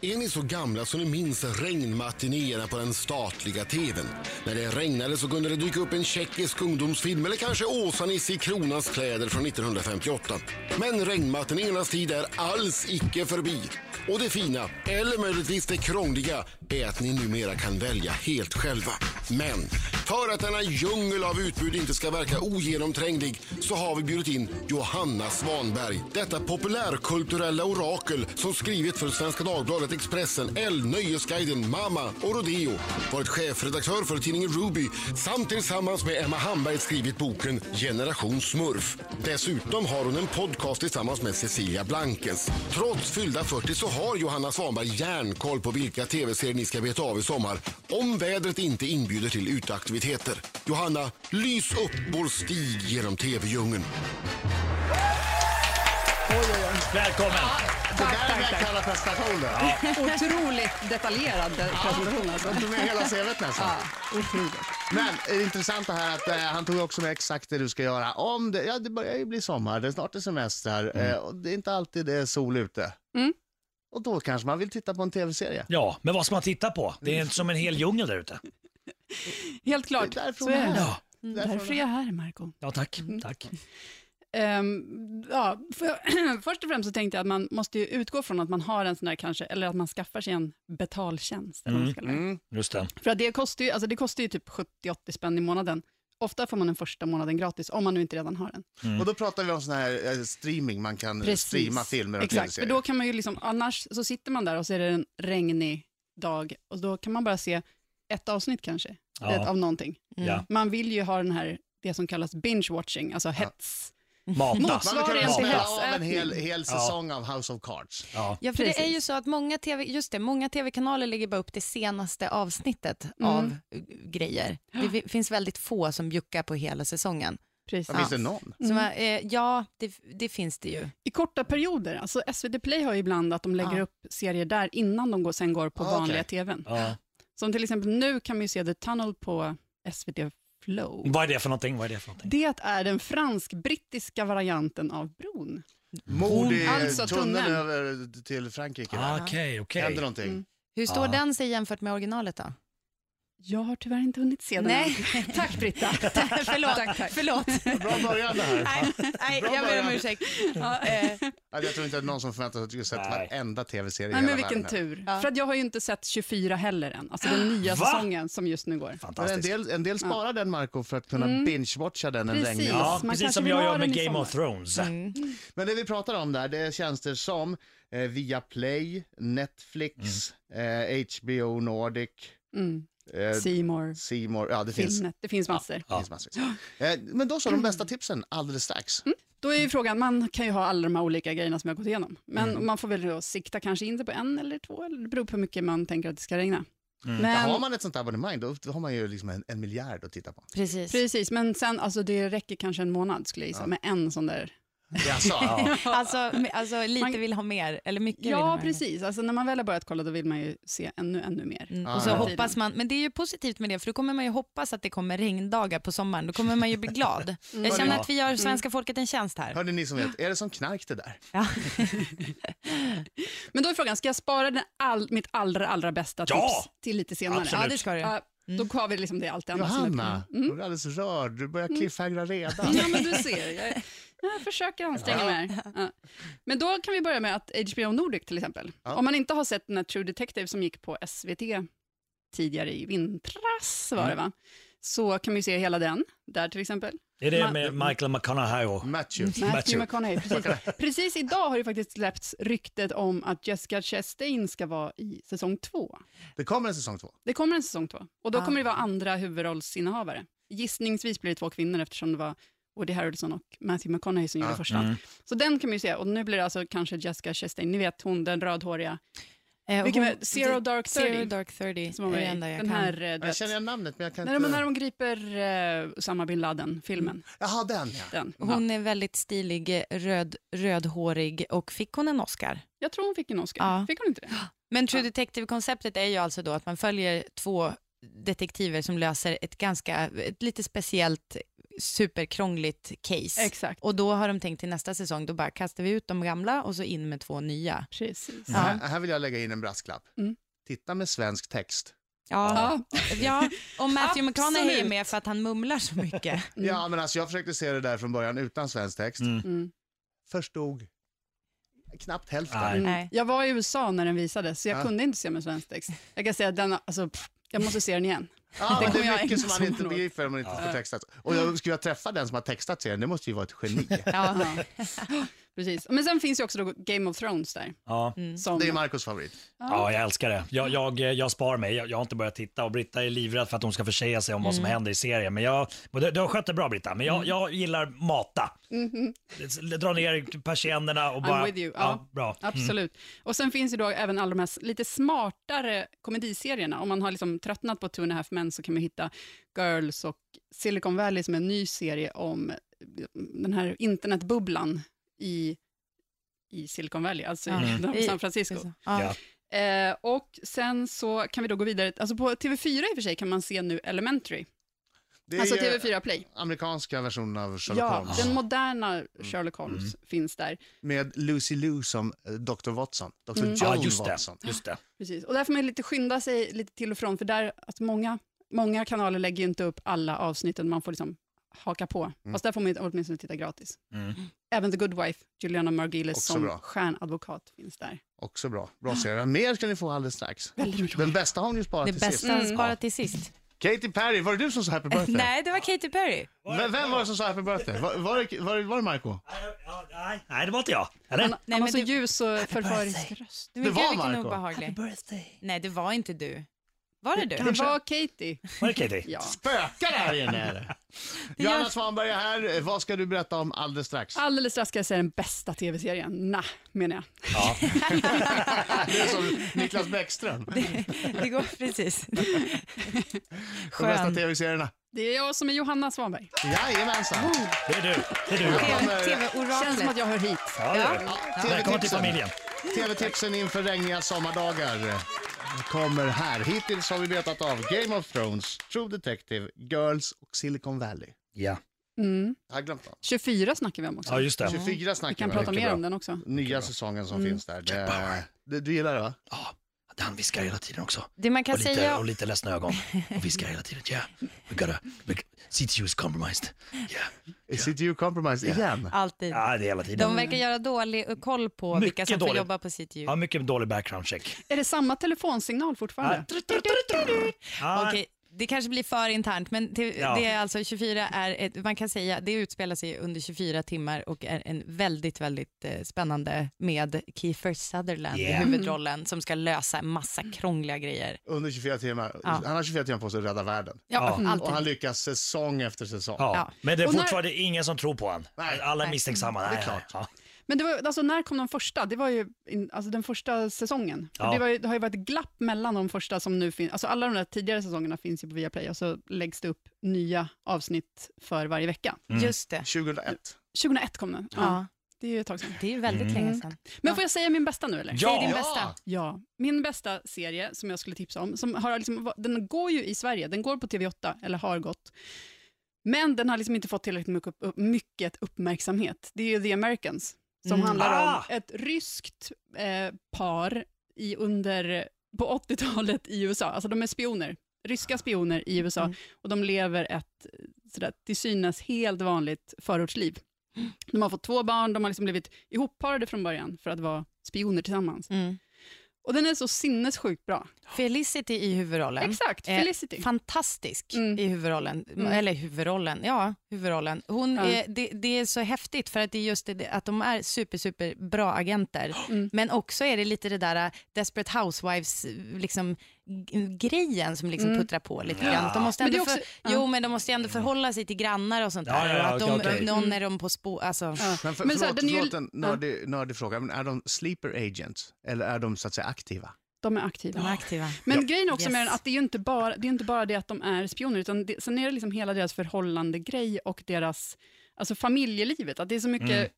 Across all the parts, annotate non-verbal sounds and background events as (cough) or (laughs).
Är ni så gamla så ni minns regnmatinéerna på den statliga tvn? När det regnade så kunde det dyka upp en tjeckisk ungdomsfilm eller kanske Åsa-Nisse i Kronans kläder från 1958. Men regnmatinéernas tid är alls icke förbi. Och det fina, eller möjligtvis det krångliga, är att ni numera kan välja helt själva. Men för att denna djungel av utbud inte ska verka ogenomtränglig så har vi bjudit in Johanna Svanberg. Detta populärkulturella orakel som skrivit för Svenska Dagbladet, Expressen, Elle, Nöjesguiden, Mama och Rodeo. Varit chefredaktör för tidningen Ruby samt tillsammans med Emma Hamberg skrivit boken Generation Smurf. Dessutom har hon en podcast tillsammans med Cecilia Blankens. Trots fyllda 40 så har Johanna Svanberg järnkoll på vilka tv-serier ni ska beta av i sommar om vädret inte inbjuder till uteaktiviteter. Johanna, lys upp vår stig genom tv-djungeln. Välkommen! Det där är vad jag kallar prestation. det. Otroligt detaljerad presentation alltså. De tog med hela CVt nästan. Ja, otroligt. Men det intressanta här är att eh, han tog också med exakt det du ska göra. Om det, ja, det börjar ju bli sommar, det är snart är semester Mm. eh, och det är inte alltid det är sol ute. Mm. Och då kanske man vill titta på en tv-serie. Ja, men vad ska man titta på? Det är som en hel djungel där ute. Det är Helt klart. därför Så hon är är det. här. Ja. Mm, Därför Därför är jag här, Marco. Ja, tack. Mm. tack. Ehm, ja, för, först och främst så tänkte jag (clears throat) att man måste ju utgå från att man har en sån där kanske, eller att man skaffar sig en betaltjänst. Eller vad man ska Mm. kalla det. Just det. För att det kostar ju, alltså det kostar ju typ 70-80 spänn i månaden. Ofta får man den första månaden gratis, om man nu inte redan har den. Och då pratar vi om sån här eh, streaming, man kan eh, Precis. streama filmer och Exakt, för tv-serier. då kan man ju liksom, annars så sitter man där och så är det en regnig dag och då kan man bara se ett avsnitt kanske, Ja. ett, av någonting. Ja. Man vill ju ha den här, det som kallas binge-watching, alltså hets. Mata. Motsvar- Man vill kunna Svaren till spela av en hetsätning. hel, hel säsong av House of Cards. Ja. Ja, för det är Precis. ju så att många TV, just det, många tv-kanaler lägger bara upp det senaste avsnittet Mm. av eh, grejer. Det vi- finns väldigt få som bjuckar på hela säsongen. Precis. Mm. Ja. Finns det någon? Så, man, eh, ja, det, det finns det ju. I korta perioder, alltså SVT Play har ju ibland att de lägger Ja. upp serier där innan de går, sen går på Ah, okej. vanliga tvn. Ja. Som till exempel nu kan man ju se The Tunnel på SVT Flow. Vad är det för någonting? Vad är det för någonting? Det är den fransk-brittiska varianten av bron. Mord i Alltså tunneln tunneln. över till Frankrike. Ah, va? Okej, okej. Händer någonting? Mm. Hur står Ja. den sig jämfört med originalet då? Jag har tyvärr inte hunnit se den Nej. än. Tack Britta. förlåt, (laughs) Tack, tack. (laughs) förlåt. Bra början det här. nej, nej, Bra jag ber om början. ursäkt. Eh, Ja, Jag tror inte att någon som förväntar sig att du ska ha sett Nej. varenda tv-serie i Nej, hela men vilken typ världen. tur. Ja. För att jag har ju inte sett 24 heller än, alltså den nya Va? säsongen som just nu går. Men Alltså, en, Fantastiskt. del, en del sparar den Marco för att kunna binge-watcha den en Mm. Precis. regnig dag. Ja, Man precis kanske som vill jag ha gör den med i Game sommar. Mm. of Thrones. Men det vi pratar om där, det är tjänster som eh, Viaplay, Netflix, Mm. eh, HBO Nordic, Mm. eh, Seymour, C More, ja det finns. Filmnet, det finns massor. Det finns massvis. Eh, men då så, de Mm. bästa tipsen alldeles strax. Då är ju frågan, man kan ju ha alla de här olika grejerna som jag har gått igenom. Men Mm. man får väl då sikta kanske in sig på en eller två, eller det beror på hur mycket man tänker att det ska regna. Ja, Men, har man ett sånt här abonnemang då har man ju liksom en, en miljard att titta på. (laughs) Precis. Precis, men sen, alltså det räcker kanske en månad skulle jag gissa, med en sån där. (laughs) Jaså, ja. Alltså, me- alltså lite Man- vill ha mer, eller mycket vill ha Ja, mer. precis. Alltså när man väl har börjat kolla, då vill man ju se ännu, ännu mer. Mm. Och så Mm. Ja, ja. hoppas man, men det är ju positivt med det, för då kommer man ju hoppas att det kommer regndagar på sommaren. Då kommer (laughs) man ju bli glad. Mm. Jag känner att vi gör svenska folket en tjänst här. Hörde ni som vet, är det som knark det där? Ja. Men då är frågan, ska jag spara den all, mitt allra, allra bästa Ja! tips till lite senare? Absolut. Ja, det ska du. Ja, Då har vi liksom det allt det andra som är Johanna, kvar. du är alldeles rörd, du Mm. börjar cliffhangra (laughs) redan. Ja, men du ser. Jag, jag (laughs) försöker anstränga mig. här. Ja. Men då kan vi börja med att HBO Nordic till exempel. Ja. Om man inte har sett den här True Detective som gick på SVT tidigare i vintras, var det va? Så kan man ju se hela den, där till exempel. Är det Man- med Michael McConaughey? Och... Matthew. Matthew. Matthew McConaughey, (laughs) precis. precis idag har det faktiskt släppts ryktet om att Jessica Chastain ska vara i säsong två. Det kommer en säsong två. Det kommer en säsong två. Och då Ah. kommer det vara andra huvudrollsinnehavare. Gissningsvis blir det två kvinnor eftersom det var Woody Harrelson och Matthew McConaughey som Ah, gjorde första. mm. Så den kan man ju se. Och nu blir det alltså kanske Jessica Chastain, ni vet hon den rödhåriga, Eh, Vilken hon- var- Zero Dark Zero Thirty. Dark 30 som var är det med i enda jag den kan. här... eh, du Jag vet, känner igen namnet men jag kan När de, inte... när de griper eh, Osama bin Laden-filmen. Jaha, den ja. Den. Ja. Mm. Hon är väldigt stilig, eh, röd, rödhårig och fick hon en Oscar? Jag tror hon fick en Oscar. Ja. Fick hon inte det? Men True Detective-konceptet är ju alltså då att man följer två detektiver som löser ett ganska, ett lite speciellt superkrångligt case. Exakt. Och då har de tänkt till nästa säsong, då bara kastar vi ut de gamla och så in med två nya. Precis. Ja. Här, här vill jag lägga in en brasklapp. Mm. Titta med svensk text. Ja, Ja. ja. och Matthew Absolut. McConaughey är med för att han mumlar så mycket. Mm. Ja, men alltså jag försökte se det där från början utan svensk text. Mm. Mm. Förstod knappt hälften. Nej. Nej. Mm. Jag var i USA när den visades, så jag Ja. kunde inte se med svensk text. Jag kan säga att den, alltså, pff, jag måste se den igen. Ja, (laughs) Det men det kommer är jag mycket ägna som man sommaren inte åt. begrifer om man inte Ja. får textat. Och jag skulle jag träffa den som har textat serien, det måste ju vara ett geni. (laughs) Ja. Ja. (laughs) Precis. Men sen finns ju också då Game of Thrones där. Ja. Mm. Som, Det är Marcos favorit. ja. ja, jag älskar det. Jag, jag, jag spar mig. Jag, jag har inte börjat titta och Britta är livrädd för att hon ska försäga sig om vad Mm. som händer i serien. Men jag, men du, du har skött det bra Britta, men jag, jag gillar mata. Dra ner persiennerna och Mm-hmm. I'm bara... with you. Ja. bra. Mm. Absolut. Och sen finns ju då även alla de här s- lite smartare komediserierna. Om man har liksom tröttnat på Two and a half men så kan man hitta Girls och Silicon Valley som är en ny serie om eh, den här internetbubblan i, i Silicon Valley, alltså i Ja. utanför (laughs) I- San Francisco. Ja. Ja. Eh, och sen så kan vi då gå vidare, alltså på TV4 i och för sig kan man se nu Elementary, Det är alltså ju TV4 Play. amerikanska versionen av Sherlock Ja, Holmes. Mm. den moderna Sherlock Holmes finns där. Med Lucy Liu som eh, Dr. Watson. Dr. Mm. Joan Ja, just det. Watson. Just det. Precis. Och där får man ju lite skynda sig lite till och från, för där, att många, många kanaler lägger ju inte upp alla avsnitten, man får liksom haka på. Mm. Fast där får man ju åtminstone titta gratis. Mm. Även The Good Wife, Juliana Margulies Också som bra. stjärnadvokat finns där. Också bra. Bra serie. Mer ska ni få alldeles strax. Den bästa har ni ju sparat Det till bästa sist. sparat till sist. Katy Perry, var det du som sa Happy (laughs) Birthday? Mm. Nej, det var Katy Perry. Vem, vem var det som sa Happy Birthday? Var, var, det, var, det, var det Marco? Ja, Nej, nej, det var inte jag. Eller? Han, han har men så det- ljus och förförisk röst. Men gud, var vilken Marco. obehaglig. birthday. Nej, det var inte du. Var det du? Det var Katie. Var det Katie? Ja. Spökar det här inne eller? (laughs) Det gör- Ah. Johanna Svanberg är här. Vad ska du berätta om alldeles strax? Alldeles strax ska jag säga den bästa tv-serien. Nah, menar jag. Ja. (laughs) Det är som Niklas Bäckström. De Det går (laughs) precis. bästa Skön. tv-serierna. Det är jag som är Johanna Svanberg. Oh. Jajamensan. Det är du. Det är du. Johan. Kommer- Känns som att TV-oraklet. jag hör hit. Ja, det är du. Välkommen till TV-tipsen. familjen. TV-tipsen inför regniga sommardagar kommer här. Hittills har vi betat av Game of Thrones, True Detective, Girls och Silicon Valley. Ja. Mm. Jag har glömt någon. 24 snackar vi om också. ja, just det. 24 vi snackar kan vi prata om. mer om Mm. den också. Nya säsongen som finns där. Jack Det, Bauer. det, du gillar det va? Ja, Ah, han viskar hela tiden också. Det man kan Och lite, och säga... lite ledsna (laughs) ögon. Och viskar hela tiden. Yeah, we gotta... We, CTU is compromised. Yeah. Is it you compromised igen? Alltid. Ja, det är hela tiden. De verkar göra dålig koll på Mycket vilka som får dålig. jobba på sitt ljud. Ja, mycket dålig background check. Är det samma telefonsignal fortfarande? Ja, Okej, det kanske blir för internt, men det, Ah. Ja. det är alltså 24 är ett, man kan säga, det utspelar sig under 24 timmar och är en väldigt, väldigt eh, spännande med Kiefer Sutherland Yeah. i huvudrollen som ska lösa en massa krångliga grejer. Under 24 timmar. Ja. Han har 24 timmar på sig att rädda världen. Ja, Ja. alltid. Och han lyckas säsong efter säsong. Ja. Ja. Men det är Och när- fortfarande ingen som tror på han. Nej. Alla är Nej. misstänksamma. Nej, Det är nej, ja. Men det var, alltså, när kom de första? Det var ju in, alltså, den första säsongen. Ja. Och Det, var ju, det har ju varit ett glapp mellan de första som nu finns. Alltså, alla de där tidigare säsongerna finns ju på Viaplay och så läggs det upp nya avsnitt för varje vecka. Mm. Just det. 2001. 2001 kom den. Ja. Ja, Det är ju ett tag sedan. det är ju väldigt länge sedan. Men får jag säga min bästa nu eller? Säg din Mm. Ja. bästa. Ja, min bästa serie som jag skulle tipsa om, som har liksom, va- den går ju i Sverige, den går på TV8, eller har gått, men den har liksom inte fått tillräckligt mycket, upp- mycket uppmärksamhet. Det är ju The Americans, som Mm. handlar Ah! om ett ryskt eh, par i under, på 80-talet i USA. Alltså de är spioner, ryska spioner i USA, Mm. och de lever ett sådär, till synes helt vanligt förortsliv. De har fått två barn, de har liksom blivit ihopparade från början för att vara spioner tillsammans. Mm. Och den är så sinnessjukt bra. Felicity i huvudrollen. Exakt, Eh, Felicity. fantastisk Mm. i huvudrollen. Mm. Eller huvudrollen, ja, huvudrollen. Hon Ja. är, det, det är så häftigt för att det är just det, att de är super, super bra agenter. (gasps) Mm. Men också är det lite det där äh, Desperate Housewives eh, liksom, g- grejen som liksom Mm. puttrar på lite Ja. grann. Att De måste Men det ändå är för, också- ja. Jo, men de måste ju ändå förhålla sig till grannar och sånt Ja, där. ja, ja, och att de, okej, okej. Någon är de på spår, alltså. Mm. Ja. Men, för, Men så här, förlåt, den är ju- förlåt en nördig, nördig fråga, men är de sleeper agents eller är de så att säga aktiva? De är aktiva. De är aktiva. Men grejen också med Yes. den att det är ju inte bara det, är inte bara det att de är spioner, utan det, sen är det liksom hela deras förhållande grej och deras alltså familjelivet. Att det är så mycket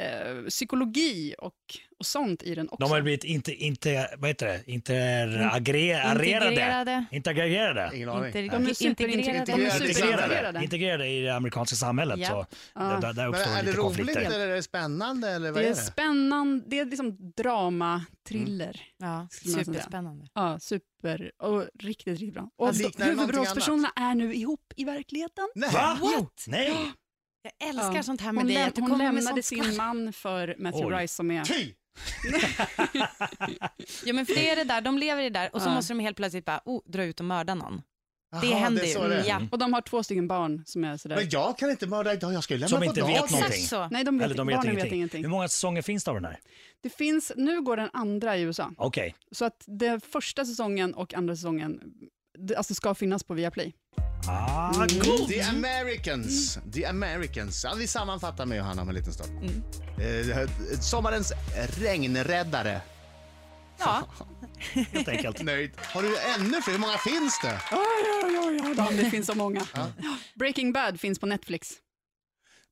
eh, psykologi och, och sånt i den också. De har blivit inte, inte, vad heter det, interagreerade. Integrerade. Integrerade. Ingen aning. Inter- De är superintegrerade. De Integrerade. är Integrerade. superintegrerade. Integrerade i det amerikanska samhället. Ja. Så Ja. där, där Men uppstår är det lite roligt konflikter. eller är det spännande? Eller vad Det är är det? spännande, det är liksom drama, thriller. Ja, Skulle man säga. superspännande. Ja, super och riktigt, riktigt bra. Och Fast Alltså, de- liknar det någonting huvudrollspersonerna är nu ihop i verkligheten. Nej. Va? What? Nej! Jag älskar Ja. sånt här med Hon, dig. läm- Att du hon kommer med lämnade sånt sin skvaller. man för Matthew Oj. Rice som är... Ty! Ja, men för det är det där, de lever i det där och så Ja. måste de helt plötsligt bara, oh, dra ut och mörda någon. det Jaha, händer är så ju. det är. Ja. Och de har två stycken barn som är sådär... Men jag kan inte mörda idag, jag ska ju lämna Som på inte vet dagis. någonting. Exakt så. Nej, de vet, Eller de vet barnen ingenting. vet ingenting. Hur många säsonger finns det av den här? Det finns, nu går den andra i USA. Okej. Så att den första säsongen och andra säsongen det, alltså ska finnas på Viaplay. Ah, Mm. cool. The Americans. The Americans. Ja, vi sammanfattar med Johanna om en liten stund. Mm. Eh, sommarens regnräddare. Ja, Helt enkelt. Nöjd. Har du ännu fler? Hur många finns det? Oj, oj, oj, oj, Dan, det finns så många. Breaking Bad finns på Netflix.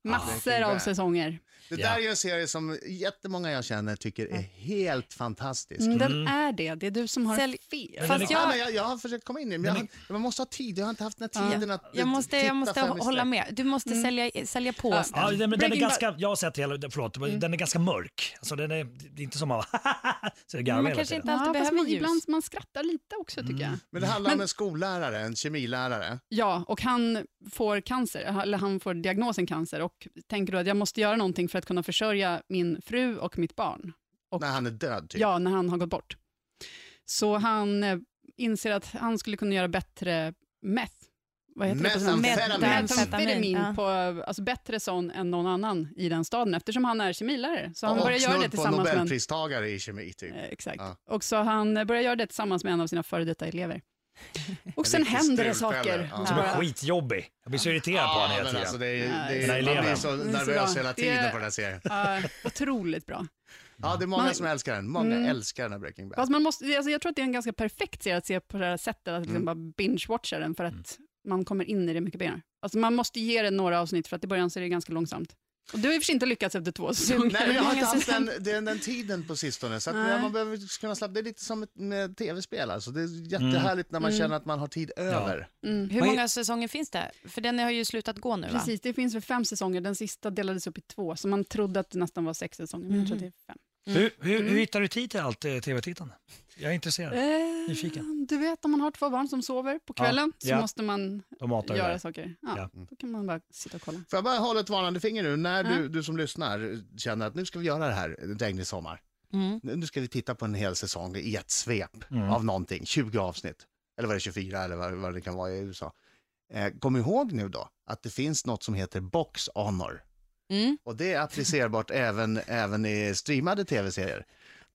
Massor Breaking av Bad. säsonger. Det Ja. där är en serie som jättemånga jag känner tycker är helt fantastisk. Mm. Den är det. Det är du som har Sälj- fel. fast Ja, jag, men jag, jag har försökt komma in i det, men jag, har- man måste ha tid. Jag har inte haft den här tiden att eh, jag måste, titta jag måste fem i hålla sträck. med. Du måste sälja, sälja på Ja. oss Ja, den. den, men den är Breaking ganska, jag har sett hela, förlåt, Mm. den är ganska mörk. Alltså den är, det är inte som att (laughs) så jag garvar Man hela kanske tiden. inte alltid Ja, fast behöver man, ljus. ibland man skrattar lite också tycker Mm. jag. Men det handlar om Men- en skollärare, en kemilärare. Ja, och han får cancer, eller han får diagnosen cancer och tänker då att jag måste göra någonting för att kunna försörja min fru och mitt barn. Och- När han är död, typ. Ja, när han har gått bort. Så han eh, inser att han skulle kunna göra bättre meth. Vad heter det på svenska? Metamfetamin. Metamfetamin Ja. på, alltså bättre sån än någon annan i den staden eftersom han är kemilärare. Så han och börjar göra det snudd på tillsammans med en, Nobelpristagare i kemi, typ. eh, Exakt. Ja. Och så han eh, börjar göra det tillsammans med en av sina före (laughs) detta elever. En Och sen riktig händer det strulpelle. saker. Ja. Och så Som bara- är skitjobbig. Jag blir så irriterad på honom hela men tiden. alltså, det är, det är, Den här man blir eleven. så Den är så nervös bra. hela Det tiden är- på den här serien. Ja, otroligt bra. Ja, det är många Man- som älskar den. Många Mm. älskar den här Breaking Bad. Fast man måste, alltså jag tror att det är en ganska perfekt serie att se på det här sättet, att liksom bara binge-watcha den för att man kommer in i det mycket mer. Alltså man måste ge den några avsnitt för att i början så är det ganska långsamt. Och du har i och för sig inte lyckats efter två säsonger. Nej, men jag har inte (laughs) Många haft den, den, den tiden på sistone. Så att Nej. man behöver kunna slappna. Det är lite som ett med tv-spel. Alltså. Det Mm. är jättehärligt när man känner att man har tid över. Mm. Hur Vad är- många säsonger finns det? För den har ju slutat gå nu va? Precis, det finns väl fem säsonger, den sista delades upp i två, så man trodde att det nästan var sex säsonger, men jag tror att det är fem. Hur, hur, Mm. hur hittar du tid till allt eh, tv-tittande? Jag är intresserad. Nyfiken. Eh, du vet om man har två barn som sover på Ja, kvällen så ja. måste man De matar ju göra där. saker. Ja, Ja. Då kan man bara sitta och kolla. Får jag bara hålla ett varnande finger nu när du, du som lyssnar känner att nu ska vi göra det här en regnig sommar. Mm. Nu nu ska vi titta på en hel säsong i ett svep av någonting, 20 avsnitt. Eller var det 24 eller vad, vad det kan vara i USA. Eh, kom ihåg nu då att det finns något som heter Box Honor. Mm. Och det är applicerbart (laughs) även, även i streamade tv-serier.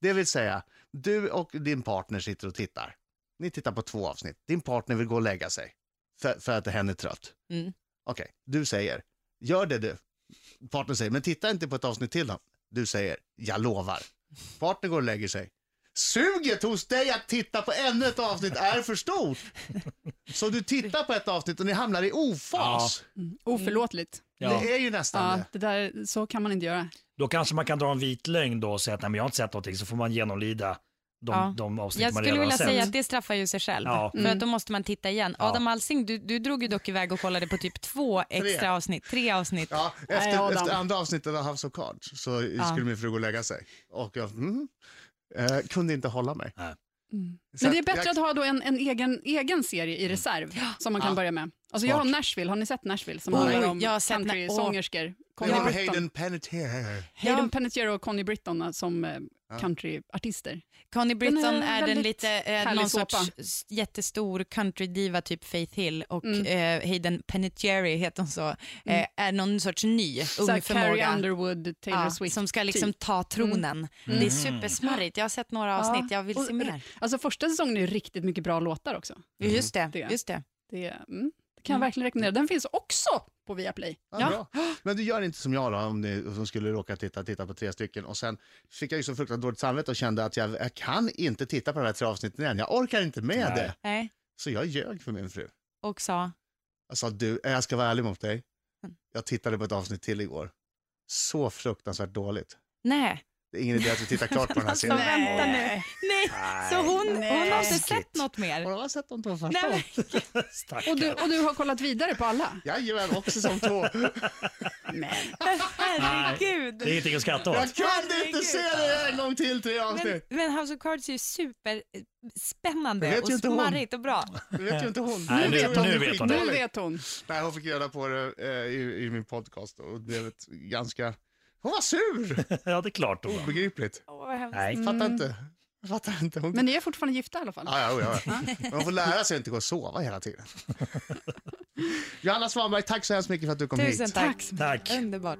Det vill säga, du och din partner sitter och tittar. Ni tittar på två avsnitt. Din partner vill gå och lägga sig för, för att hen är trött. Mm. Okej, du säger, gör det du. Partnern säger, men titta inte på ett avsnitt till då. Du säger, jag lovar. Partnern går och lägger sig. Suget hos dig att titta på ännu ett avsnitt är för stort. Så du tittar på ett avsnitt och ni hamnar i ofas. Mm. Oförlåtligt. Ja. Det är ju nästan Ja, det. det där, så kan man inte göra. Då kanske man kan dra en vit lögn då och säga att nej, men jag har inte sett någonting, så får man genomlida de, Ja. de avsnitt man Jag skulle redan har vilja sett. säga att det straffar ju sig själv. Ja. För att då måste man titta igen. Ja. Adam Alsing, du, du drog ju dock iväg och kollade på typ två extra avsnitt, tre avsnitt. Ja, Nej, efter, Adam. efter andra avsnittet av House of Cards så skulle min fru gå och lägga sig. Och jag mm, eh, kunde inte hålla mig. Så Mm. Men det är att bättre jag- Mm. att ha då en, en egen, egen serie i reserv som man kan Ja. börja med. Alltså jag har Nashville, har ni sett Nashville? Som Oj, handlar om jag har sett Na- åh. country-sångerskor. Connie Tänk på Britton. Hayden Panettiere. Hayden Ja. Panettiere och Connie Britton eh, som eh, countryartister. Connie Britton Den är är, den väldigt lite, eh, härlig någon såpa. sorts s- jättestor countrydiva typ Faith Hill och eh, Hayden Panettiere heter hon så, eh, är någon sorts ny Så här, ung Carrie förmåga. Underwood, Taylor Ja, Swift. som ska liksom typ. ta tronen. Det är supersmarrigt. Jag har sett några avsnitt, jag vill Och se r- mer. Alltså första säsongen är ju riktigt mycket bra låtar också. Just Mm, det, Det. just det. Det, är- mm, det kan jag verkligen rekommendera. Den finns också på Viaplay. Ja, bra. Men du gör inte som jag då, om ni som skulle råka titta, titta på tre stycken. Och sen fick jag ju så fruktansvärt dåligt samvete och kände att jag, jag kan inte titta på de här tre avsnitten än. Jag orkar inte med Nej. det. Nej. Så jag ljög för min fru. Och sa, Mm. Jag sa, du, eh, jag ska vara ärlig mot dig. Jag tittade på ett avsnitt till igår. så fruktansvärt dåligt. Nej. Det är ingen idé att vi tittar klart på (laughs) den här Alltså, serien. vänta nu. Nej. Så hon, hon har inte Taskigt. sett något mer? Hon har sett de två första. Nej, men, (laughs) Stackare. Och du, och du har kollat vidare på alla? Jajamän, och säsong två. Men. (laughs) herregud. Det är ingenting att skratta (laughs) åt. Jag kunde inte se det en gång till, tre Men, avsnitt. men House of Cards är ju Det superspännande vet och ju inte hon. smarrigt och bra. Det vet ju inte hon. Nej, nu- vet hon nu hur vet hon Nu skitdåligt. vet hon. Nej, hon fick reda på det eh, i, i min podcast och det blev ett ganska... Hon var sur! Ja, det är klart hon var. Obegripligt. Åh, vad hemskt. Nej. Fattar inte. Fattar inte. Hon... Men ni är fortfarande gifta i alla fall? Ja, ja, ja, ja. Men hon får lära sig att inte gå och sova hela tiden. Johanna Svanberg, tack så hemskt mycket för att du kom hit. Tusen tack. Tack. Underbart.